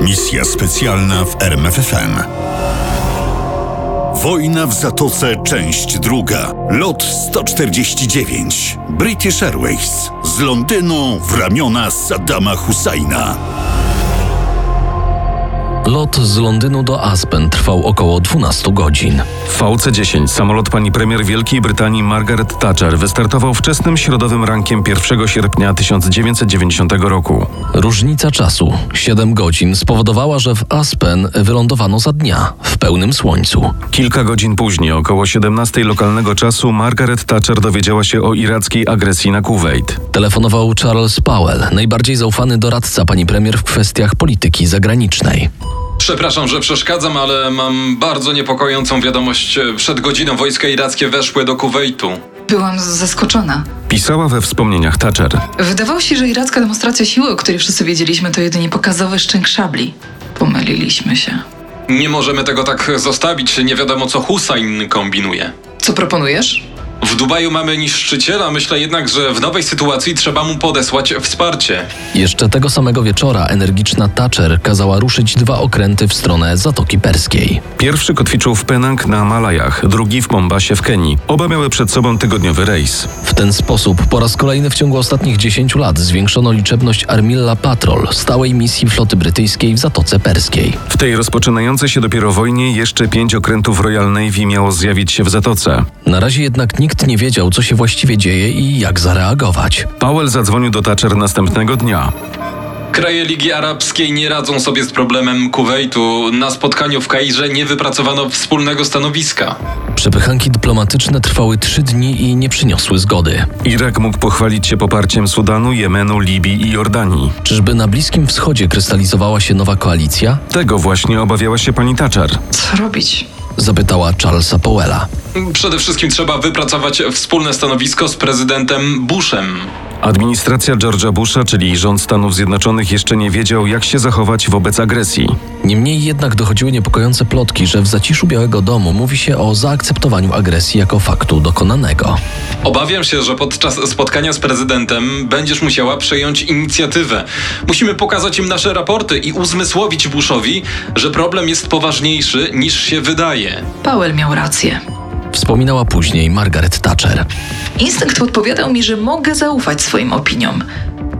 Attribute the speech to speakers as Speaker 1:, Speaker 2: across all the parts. Speaker 1: Misja specjalna w RMFFM. Wojna w Zatoce, część druga. Lot 149. British Airways. Z Londynu w ramiona Saddama Husajna.
Speaker 2: Lot z Londynu do Aspen trwał około 12 godzin.
Speaker 3: VC-10, samolot pani premier Wielkiej Brytanii Margaret Thatcher, wystartował wczesnym środowym rankiem 1 sierpnia 1990 roku.
Speaker 2: Różnica czasu 7 godzin spowodowała, że w Aspen wylądowano za dnia w pełnym słońcu.
Speaker 3: Kilka godzin później, około 17 lokalnego czasu, Margaret Thatcher dowiedziała się o irackiej agresji na Kuwejt.
Speaker 2: Telefonował Charles Powell, najbardziej zaufany doradca pani premier w kwestiach polityki zagranicznej.
Speaker 4: Przepraszam, że przeszkadzam, ale mam bardzo niepokojącą wiadomość. Przed godziną wojska irackie weszły do Kuwejtu.
Speaker 5: Byłam zaskoczona.
Speaker 3: Pisała we wspomnieniach Thatcher.
Speaker 5: Wydawało się, że iracka demonstracja siły, o której wszyscy wiedzieliśmy, to jedynie pokazowy szczęk szabli. Pomyliliśmy się.
Speaker 4: Nie możemy tego tak zostawić, nie wiadomo co Hussein kombinuje.
Speaker 5: Co proponujesz?
Speaker 4: W Dubaju mamy niszczyciela, myślę jednak, że w nowej sytuacji trzeba mu podesłać wsparcie.
Speaker 2: Jeszcze tego samego wieczora energiczna Thatcher kazała ruszyć dwa okręty w stronę Zatoki Perskiej.
Speaker 3: Pierwszy kotwiczył w Penang na Malajach, drugi w Mombasie w Kenii. Oba miały przed sobą tygodniowy rejs.
Speaker 2: W ten sposób po raz kolejny w ciągu ostatnich 10 lat zwiększono liczebność Armilla Patrol, stałej misji floty brytyjskiej w Zatoce Perskiej.
Speaker 3: W tej rozpoczynającej się dopiero wojnie jeszcze pięć okrętów Royal Navy miało zjawić się w Zatoce.
Speaker 2: Na razie jednak nikt nie wiedział, co się właściwie dzieje i jak zareagować.
Speaker 3: Powell zadzwonił do Thatcher następnego dnia.
Speaker 4: Kraje Ligi Arabskiej nie radzą sobie z problemem Kuwejtu. Na spotkaniu w Kairze nie wypracowano wspólnego stanowiska.
Speaker 2: Przepychanki dyplomatyczne trwały trzy dni i nie przyniosły zgody.
Speaker 3: Irak mógł pochwalić się poparciem Sudanu, Jemenu, Libii i Jordanii.
Speaker 2: Czyżby na Bliskim Wschodzie krystalizowała się nowa koalicja?
Speaker 3: Tego właśnie obawiała się pani Thatcher.
Speaker 5: Co robić?
Speaker 2: Zapytała Charlesa Powella.
Speaker 4: Przede wszystkim trzeba wypracować wspólne stanowisko z prezydentem Bushem.
Speaker 3: Administracja George'a Busha, czyli rząd Stanów Zjednoczonych, jeszcze nie wiedział, jak się zachować wobec agresji.
Speaker 2: Niemniej jednak dochodziły niepokojące plotki, że w zaciszu Białego Domu mówi się o zaakceptowaniu agresji jako faktu dokonanego.
Speaker 4: Obawiam się, że podczas spotkania z prezydentem będziesz musiała przejąć inicjatywę. Musimy pokazać im nasze raporty i uzmysłowić Bushowi, że problem jest poważniejszy niż się wydaje.
Speaker 5: Powell miał rację.
Speaker 2: Wspominała później Margaret Thatcher.
Speaker 5: Instynkt podpowiadał mi, że mogę zaufać swoim opiniom.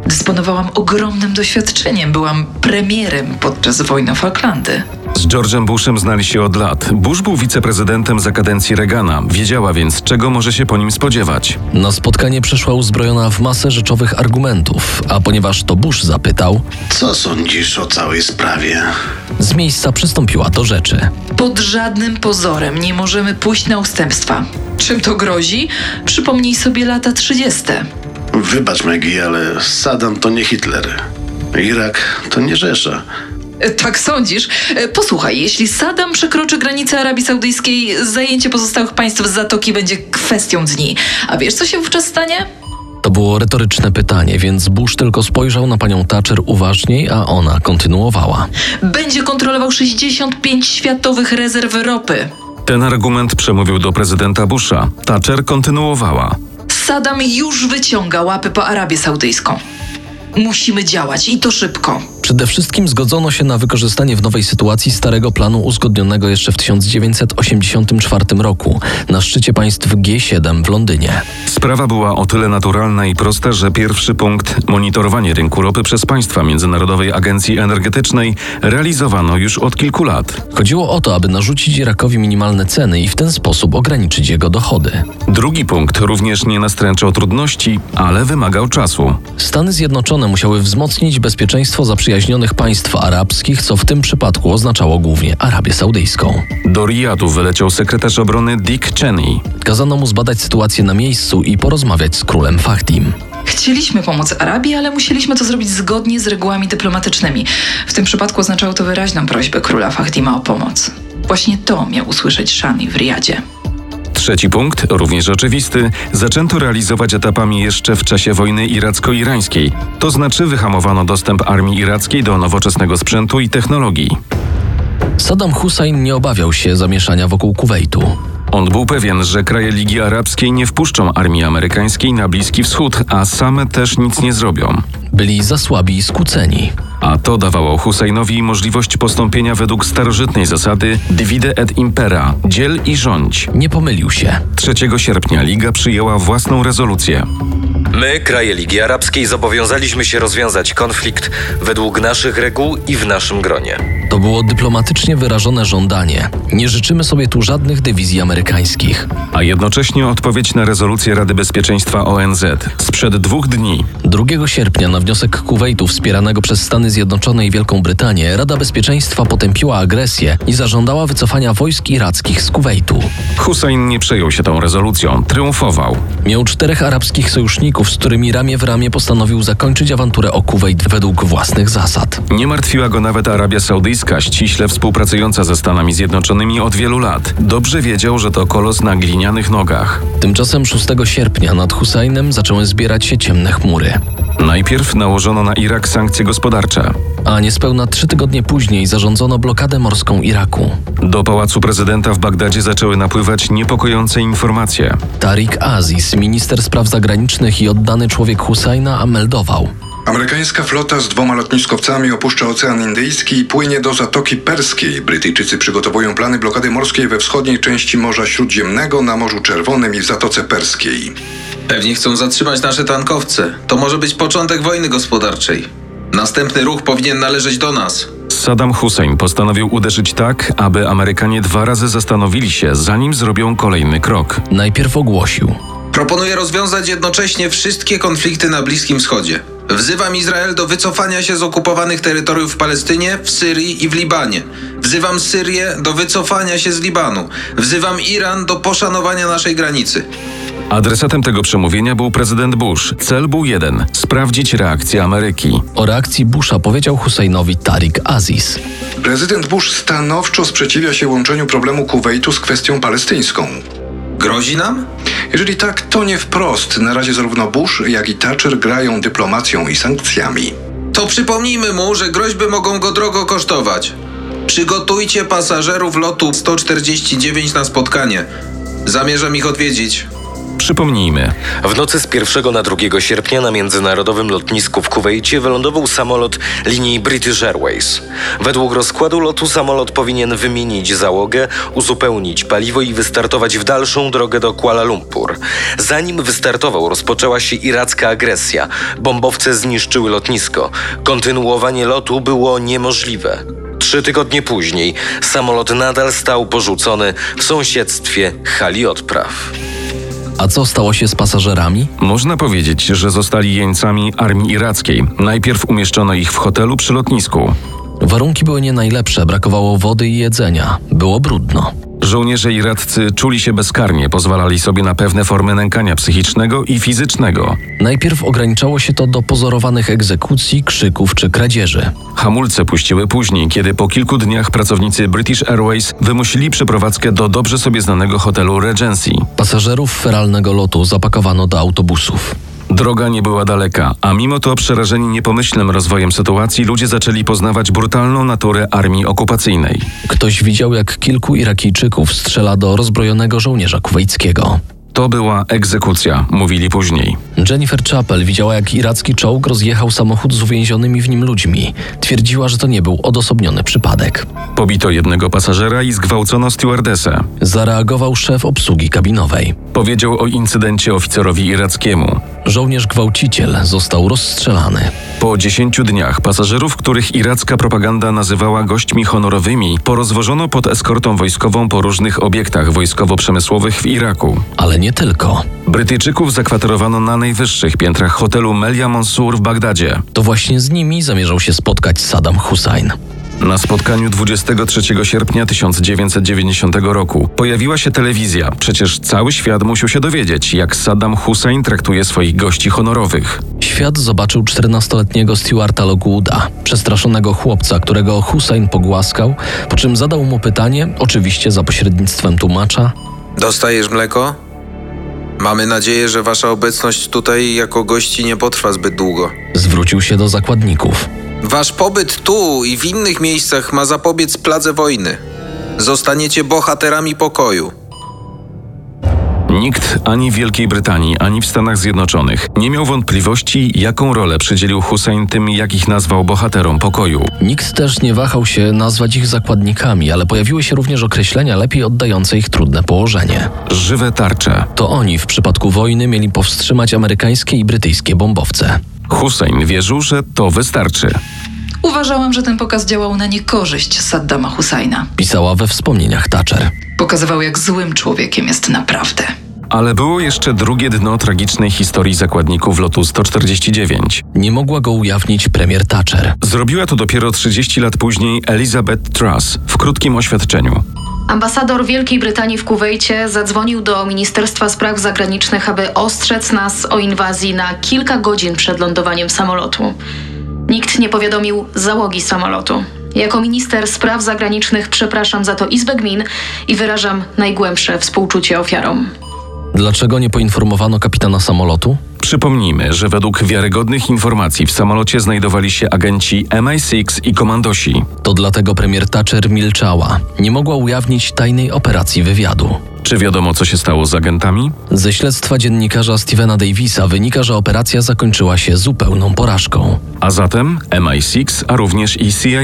Speaker 5: Dysponowałam ogromnym doświadczeniem, byłam premierem podczas wojny o Falklandy.
Speaker 3: Z George'em Bushem znali się od lat. Bush był wiceprezydentem za kadencji Reagana, wiedziała więc, czego może się po nim spodziewać.
Speaker 2: Na spotkanie przyszła uzbrojona w masę rzeczowych argumentów, a ponieważ to Bush zapytał,
Speaker 6: Co sądzisz o całej sprawie?
Speaker 2: z miejsca przystąpiła do rzeczy.
Speaker 5: Pod żadnym pozorem nie możemy pójść na ustępstwa. Czym to grozi? Przypomnij sobie lata 30.
Speaker 6: Wybacz, Megi, ale Saddam to nie Hitler. Irak to nie Rzesza.
Speaker 5: E, Tak sądzisz? E, Posłuchaj, jeśli Saddam przekroczy granicę Arabii Saudyjskiej, zajęcie pozostałych państw z Zatoki będzie kwestią dni. A wiesz, co się wówczas stanie?
Speaker 2: To było retoryczne pytanie, więc Bush tylko spojrzał na panią Thatcher uważniej, a ona kontynuowała.
Speaker 5: Będzie kontrolował 65 światowych rezerw ropy.
Speaker 3: Ten argument przemówił do prezydenta Busha. Thatcher kontynuowała.
Speaker 5: Saddam już wyciąga łapy po Arabię Saudyjską. Musimy działać i to szybko.
Speaker 2: Przede wszystkim zgodzono się na wykorzystanie w nowej sytuacji starego planu uzgodnionego jeszcze w 1984 roku na szczycie państw G7 w Londynie.
Speaker 3: Sprawa była o tyle naturalna i prosta, że pierwszy punkt monitorowanie rynku ropy przez państwa Międzynarodowej Agencji Energetycznej realizowano już od kilku lat.
Speaker 2: Chodziło o to, aby narzucić Irakowi minimalne ceny i w ten sposób ograniczyć jego dochody.
Speaker 3: Drugi punkt również nie nastręczał trudności, ale wymagał czasu.
Speaker 2: Stany Zjednoczone musiały wzmocnić bezpieczeństwo zaprzyjaźnionych państw arabskich, co w tym przypadku oznaczało głównie Arabię Saudyjską.
Speaker 3: Do Riyadu wyleciał sekretarz obrony Dick Cheney.
Speaker 2: Kazano mu zbadać sytuację na miejscu i porozmawiać z królem Fahdim.
Speaker 5: Chcieliśmy pomóc Arabii, ale musieliśmy to zrobić zgodnie z regułami dyplomatycznymi. W tym przypadku oznaczało to wyraźną prośbę króla Fahdima o pomoc. Właśnie to miał usłyszeć Szani w Riyadzie.
Speaker 3: Trzeci punkt, również oczywisty, zaczęto realizować etapami jeszcze w czasie wojny iracko-irańskiej. To znaczy wyhamowano dostęp armii irackiej do nowoczesnego sprzętu i technologii.
Speaker 2: Saddam Hussein nie obawiał się zamieszania wokół Kuwejtu.
Speaker 3: On był pewien, że kraje Ligi Arabskiej nie wpuszczą armii amerykańskiej na Bliski Wschód, a same też nic nie zrobią.
Speaker 2: Byli za słabi i skłóceni.
Speaker 3: a to dawało Husajnowi możliwość postąpienia według starożytnej zasady divide et impera dziel i rządź.
Speaker 2: Nie pomylił się.
Speaker 3: 3 sierpnia Liga przyjęła własną rezolucję.
Speaker 7: My, kraje Ligi Arabskiej, zobowiązaliśmy się rozwiązać konflikt według naszych reguł i w naszym gronie.
Speaker 2: To było dyplomatycznie wyrażone żądanie. Nie życzymy sobie tu żadnych dywizji amerykańskich.
Speaker 3: a jednocześnie odpowiedź na rezolucję Rady Bezpieczeństwa ONZ sprzed dwóch dni.
Speaker 2: 2 sierpnia na wniosek Kuwejtu wspieranego przez Stany Zjednoczone i Wielką Brytanię Rada Bezpieczeństwa potępiła agresję i zażądała wycofania wojsk irackich z Kuwejtu.
Speaker 3: Hussein nie przejął się tą rezolucją, triumfował.
Speaker 2: Miał czterech arabskich sojuszników, z którymi ramię w ramię postanowił zakończyć awanturę o Kuwejt według własnych zasad.
Speaker 3: Nie martwiła go nawet Arabia Saudyjska, ściśle współpracująca ze Stanami Zjednoczonymi od wielu lat. Dobrze wiedział, że to kolos na glinianych nogach.
Speaker 2: Tymczasem 6 sierpnia nad Husajnem zaczęły zbierać się ciemne chmury.
Speaker 3: Najpierw nałożono na Irak sankcje gospodarcze.
Speaker 2: A niespełna trzy tygodnie później zarządzono blokadę morską Iraku.
Speaker 3: Do pałacu prezydenta w Bagdadzie zaczęły napływać niepokojące informacje.
Speaker 2: Tariq Aziz, minister spraw zagranicznych i oddany człowiek Husajna, meldował.
Speaker 8: Amerykańska flota z dwoma lotniskowcami opuszcza Ocean Indyjski i płynie do Zatoki Perskiej. Brytyjczycy przygotowują plany blokady morskiej we wschodniej części Morza Śródziemnego, na Morzu Czerwonym i w Zatoce Perskiej.
Speaker 9: Pewnie chcą zatrzymać nasze tankowce. To może być początek wojny gospodarczej. Następny ruch powinien należeć do nas.
Speaker 3: Saddam Hussein postanowił uderzyć tak, aby Amerykanie dwa razy zastanowili się, zanim zrobią kolejny krok.
Speaker 2: Najpierw ogłosił.
Speaker 9: Proponuję rozwiązać jednocześnie wszystkie konflikty na Bliskim Wschodzie. Wzywam Izrael do wycofania się z okupowanych terytoriów w Palestynie, w Syrii i w Libanie. Wzywam Syrię do wycofania się z Libanu. Wzywam Iran do poszanowania naszej granicy.
Speaker 3: Adresatem tego przemówienia był prezydent Bush. Cel był jeden: sprawdzić reakcję Ameryki.
Speaker 2: O reakcji Busha powiedział Husajnowi Tariq Aziz.
Speaker 8: Prezydent Bush stanowczo sprzeciwia się łączeniu problemu Kuwejtu z kwestią palestyńską.
Speaker 9: Grozi nam?
Speaker 8: Jeżeli tak, to nie wprost. Na razie zarówno Bush, jak i Thatcher grają dyplomacją i sankcjami.
Speaker 9: To przypomnijmy mu, że groźby mogą go drogo kosztować. Przygotujcie pasażerów lotu 149 na spotkanie. Zamierzam ich odwiedzić.
Speaker 3: Przypomnijmy,
Speaker 7: W nocy z 1 na 2 sierpnia na międzynarodowym lotnisku w Kuwejcie wylądował samolot linii British Airways. Według rozkładu lotu samolot powinien wymienić załogę, uzupełnić paliwo i wystartować w dalszą drogę do Kuala Lumpur. Zanim wystartował, rozpoczęła się iracka agresja. Bombowce zniszczyły lotnisko. Kontynuowanie lotu było niemożliwe. Trzy tygodnie później samolot nadal stał porzucony w sąsiedztwie hali odpraw.
Speaker 2: A co stało się z pasażerami?
Speaker 3: można powiedzieć, że zostali jeńcami armii irackiej. Najpierw umieszczono ich w hotelu przy lotnisku.
Speaker 2: Warunki były nie najlepsze, brakowało wody i jedzenia. Było brudno.
Speaker 3: Żołnierze iraccy czuli się bezkarnie, pozwalali sobie na pewne formy nękania psychicznego i fizycznego.
Speaker 2: Najpierw ograniczało się to do pozorowanych egzekucji, krzyków czy kradzieży.
Speaker 3: Hamulce puściły później, kiedy po kilku dniach pracownicy British Airways wymusili przeprowadzkę do dobrze sobie znanego hotelu Regency.
Speaker 2: Pasażerów feralnego lotu zapakowano do autobusów.
Speaker 3: Droga nie była daleka, a mimo to przerażeni niepomyślnym rozwojem sytuacji ludzie zaczęli poznawać brutalną naturę armii okupacyjnej.
Speaker 2: Ktoś widział, jak kilku Irakijczyków strzela do rozbrojonego żołnierza kuwejckiego.
Speaker 3: To była egzekucja, mówili później.
Speaker 2: Jennifer Chappell widziała, jak iracki czołg rozjechał samochód z uwięzionymi w nim ludźmi. Twierdziła, że to nie był odosobniony przypadek.
Speaker 3: Pobito jednego pasażera i zgwałcono stewardesę.
Speaker 2: Zareagował szef obsługi kabinowej.
Speaker 3: Powiedział o incydencie oficerowi irackiemu.
Speaker 2: Żołnierz gwałciciel został rozstrzelany.
Speaker 3: Po 10 dniach pasażerów, których iracka propaganda nazywała gośćmi honorowymi, porozwożono pod eskortą wojskową po różnych obiektach wojskowo-przemysłowych w Iraku.
Speaker 2: Ale nie tylko.
Speaker 3: Brytyjczyków zakwaterowano na najwyższych piętrach hotelu Melia Monsur w Bagdadzie.
Speaker 2: To właśnie z nimi zamierzał się spotkać Saddam Hussein.
Speaker 3: Na spotkaniu 23 sierpnia 1990 roku pojawiła się telewizja. Przecież cały świat musiał się dowiedzieć, jak Saddam Hussein traktuje swoich gości honorowych.
Speaker 2: Świat zobaczył 14-letniego Stewarta Logwooda, przestraszonego chłopca, którego Hussein pogłaskał, po czym zadał mu pytanie, oczywiście za pośrednictwem tłumacza,
Speaker 9: Dostajesz mleko? Mamy nadzieję, że wasza obecność tutaj jako gości nie potrwa zbyt długo.
Speaker 2: zwrócił się do zakładników.
Speaker 9: Wasz pobyt tu i w innych miejscach ma zapobiec pladze wojny. Zostaniecie bohaterami pokoju.
Speaker 3: Nikt ani w Wielkiej Brytanii, ani w Stanach Zjednoczonych nie miał wątpliwości, jaką rolę przydzielił Hussein tym, jakich nazwał bohaterom pokoju.
Speaker 2: Nikt też nie wahał się nazwać ich zakładnikami, ale pojawiły się również określenia lepiej oddające ich trudne położenie.
Speaker 3: Żywe tarcze.
Speaker 2: To oni w przypadku wojny mieli powstrzymać amerykańskie i brytyjskie bombowce.
Speaker 3: Hussein wierzył, że to wystarczy.
Speaker 5: Uważałam, że ten pokaz działał na niekorzyść Saddama Husajna.
Speaker 2: Pisała we wspomnieniach Thatcher.
Speaker 5: Pokazywał, jak złym człowiekiem jest naprawdę.
Speaker 3: Ale było jeszcze drugie dno tragicznej historii zakładników lotu 149.
Speaker 2: Nie mogła go ujawnić premier Thatcher.
Speaker 3: Zrobiła to dopiero 30 lat później Elizabeth Truss w krótkim oświadczeniu.
Speaker 10: Ambasador Wielkiej Brytanii w Kuwejcie zadzwonił do Ministerstwa Spraw Zagranicznych, aby ostrzec nas o inwazji na kilka godzin przed lądowaniem samolotu. Nikt nie powiadomił załogi samolotu. Jako minister spraw zagranicznych przepraszam za to Izbę Gmin i wyrażam najgłębsze współczucie ofiarom.
Speaker 2: Dlaczego nie poinformowano kapitana samolotu?
Speaker 3: Przypomnijmy, że według wiarygodnych informacji w samolocie znajdowali się agenci MI6 i komandosi.
Speaker 2: To dlatego premier Thatcher milczała. Nie mogła ujawnić tajnej operacji wywiadu.
Speaker 3: Czy wiadomo, co się stało z agentami?
Speaker 2: Ze śledztwa dziennikarza Stevena Davisa wynika, że operacja zakończyła się zupełną porażką.
Speaker 3: A zatem MI6, a również i CIA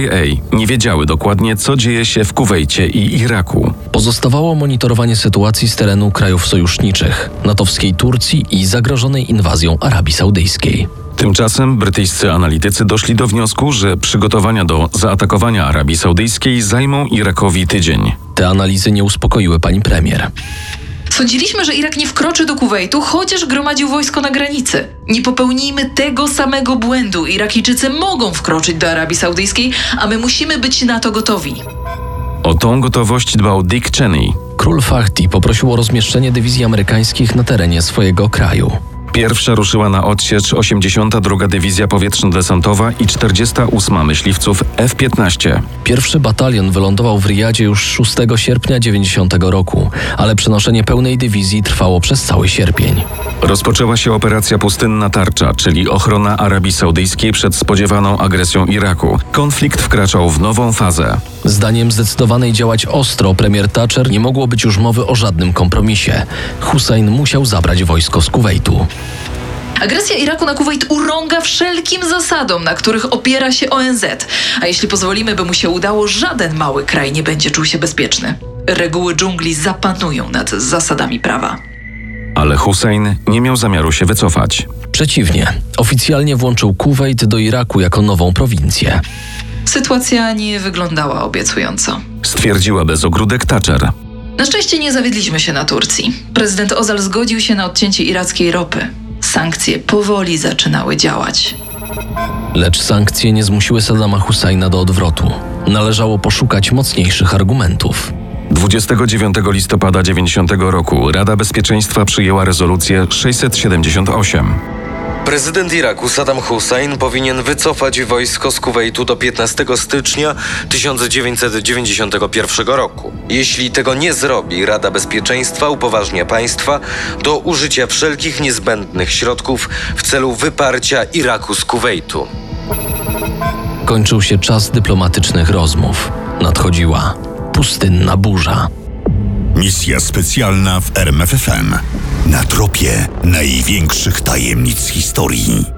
Speaker 3: nie wiedziały dokładnie, co dzieje się w Kuwejcie i Iraku.
Speaker 2: Pozostawało monitorowanie sytuacji z terenu krajów sojuszniczych, natowskiej Turcji i zagrożonej inwazją Arabii Saudyjskiej.
Speaker 3: Tymczasem brytyjscy analitycy doszli do wniosku, że przygotowania do zaatakowania Arabii Saudyjskiej zajmą Irakowi tydzień.
Speaker 2: Te analizy nie uspokoiły pani premier.
Speaker 5: Sądziliśmy, że Irak nie wkroczy do Kuwejtu, chociaż gromadził wojsko na granicy. Nie popełnijmy tego samego błędu. Irakijczycy mogą wkroczyć do Arabii Saudyjskiej, a my musimy być na to gotowi.
Speaker 3: O tą gotowość dbał Dick Cheney.
Speaker 2: Król Fahdi poprosił o rozmieszczenie dywizji amerykańskich na terenie swojego kraju.
Speaker 3: Pierwsza ruszyła na odsiecz 82. Dywizja Powietrzno-Desantowa i 48. Myśliwców F-15.
Speaker 2: Pierwszy batalion wylądował w Riyadzie już 6 sierpnia 90 roku, ale przenoszenie pełnej dywizji trwało przez cały sierpień.
Speaker 3: Rozpoczęła się operacja Pustynna Tarcza, czyli ochrona Arabii Saudyjskiej przed spodziewaną agresją Iraku. Konflikt wkraczał w nową fazę.
Speaker 2: Zdaniem zdecydowanej działać ostro premier Thatcher nie mogło być już mowy o żadnym kompromisie. Hussein musiał zabrać wojsko z Kuwejtu.
Speaker 5: Agresja Iraku na Kuwejt urąga wszelkim zasadom, na których opiera się ONZ. A jeśli pozwolimy, by mu się udało, żaden mały kraj nie będzie czuł się bezpieczny. Reguły dżungli zapanują nad zasadami prawa.
Speaker 3: Ale Hussein nie miał zamiaru się wycofać.
Speaker 2: Przeciwnie, oficjalnie włączył Kuwejt do Iraku jako nową prowincję.
Speaker 5: Sytuacja nie wyglądała obiecująco.
Speaker 3: Stwierdziła bez ogródek Thatcher.
Speaker 5: Na szczęście nie zawiedliśmy się na Turcji. Prezydent Ozal zgodził się na odcięcie irackiej ropy. Sankcje powoli zaczynały działać.
Speaker 2: Lecz sankcje nie zmusiły Saddama Husajna do odwrotu. Należało poszukać mocniejszych argumentów.
Speaker 3: 29 listopada 90 roku Rada Bezpieczeństwa przyjęła rezolucję 678.
Speaker 7: Prezydent Iraku Saddam Hussein powinien wycofać wojsko z Kuwejtu do 15 stycznia 1991 roku. Jeśli tego nie zrobi, Rada Bezpieczeństwa upoważnia państwa do użycia wszelkich niezbędnych środków w celu wyparcia Iraku z Kuwejtu.
Speaker 2: Kończył się czas dyplomatycznych rozmów. Nadchodziła pustynna burza.
Speaker 1: Misja specjalna w RMFFM. Na tropie największych tajemnic historii.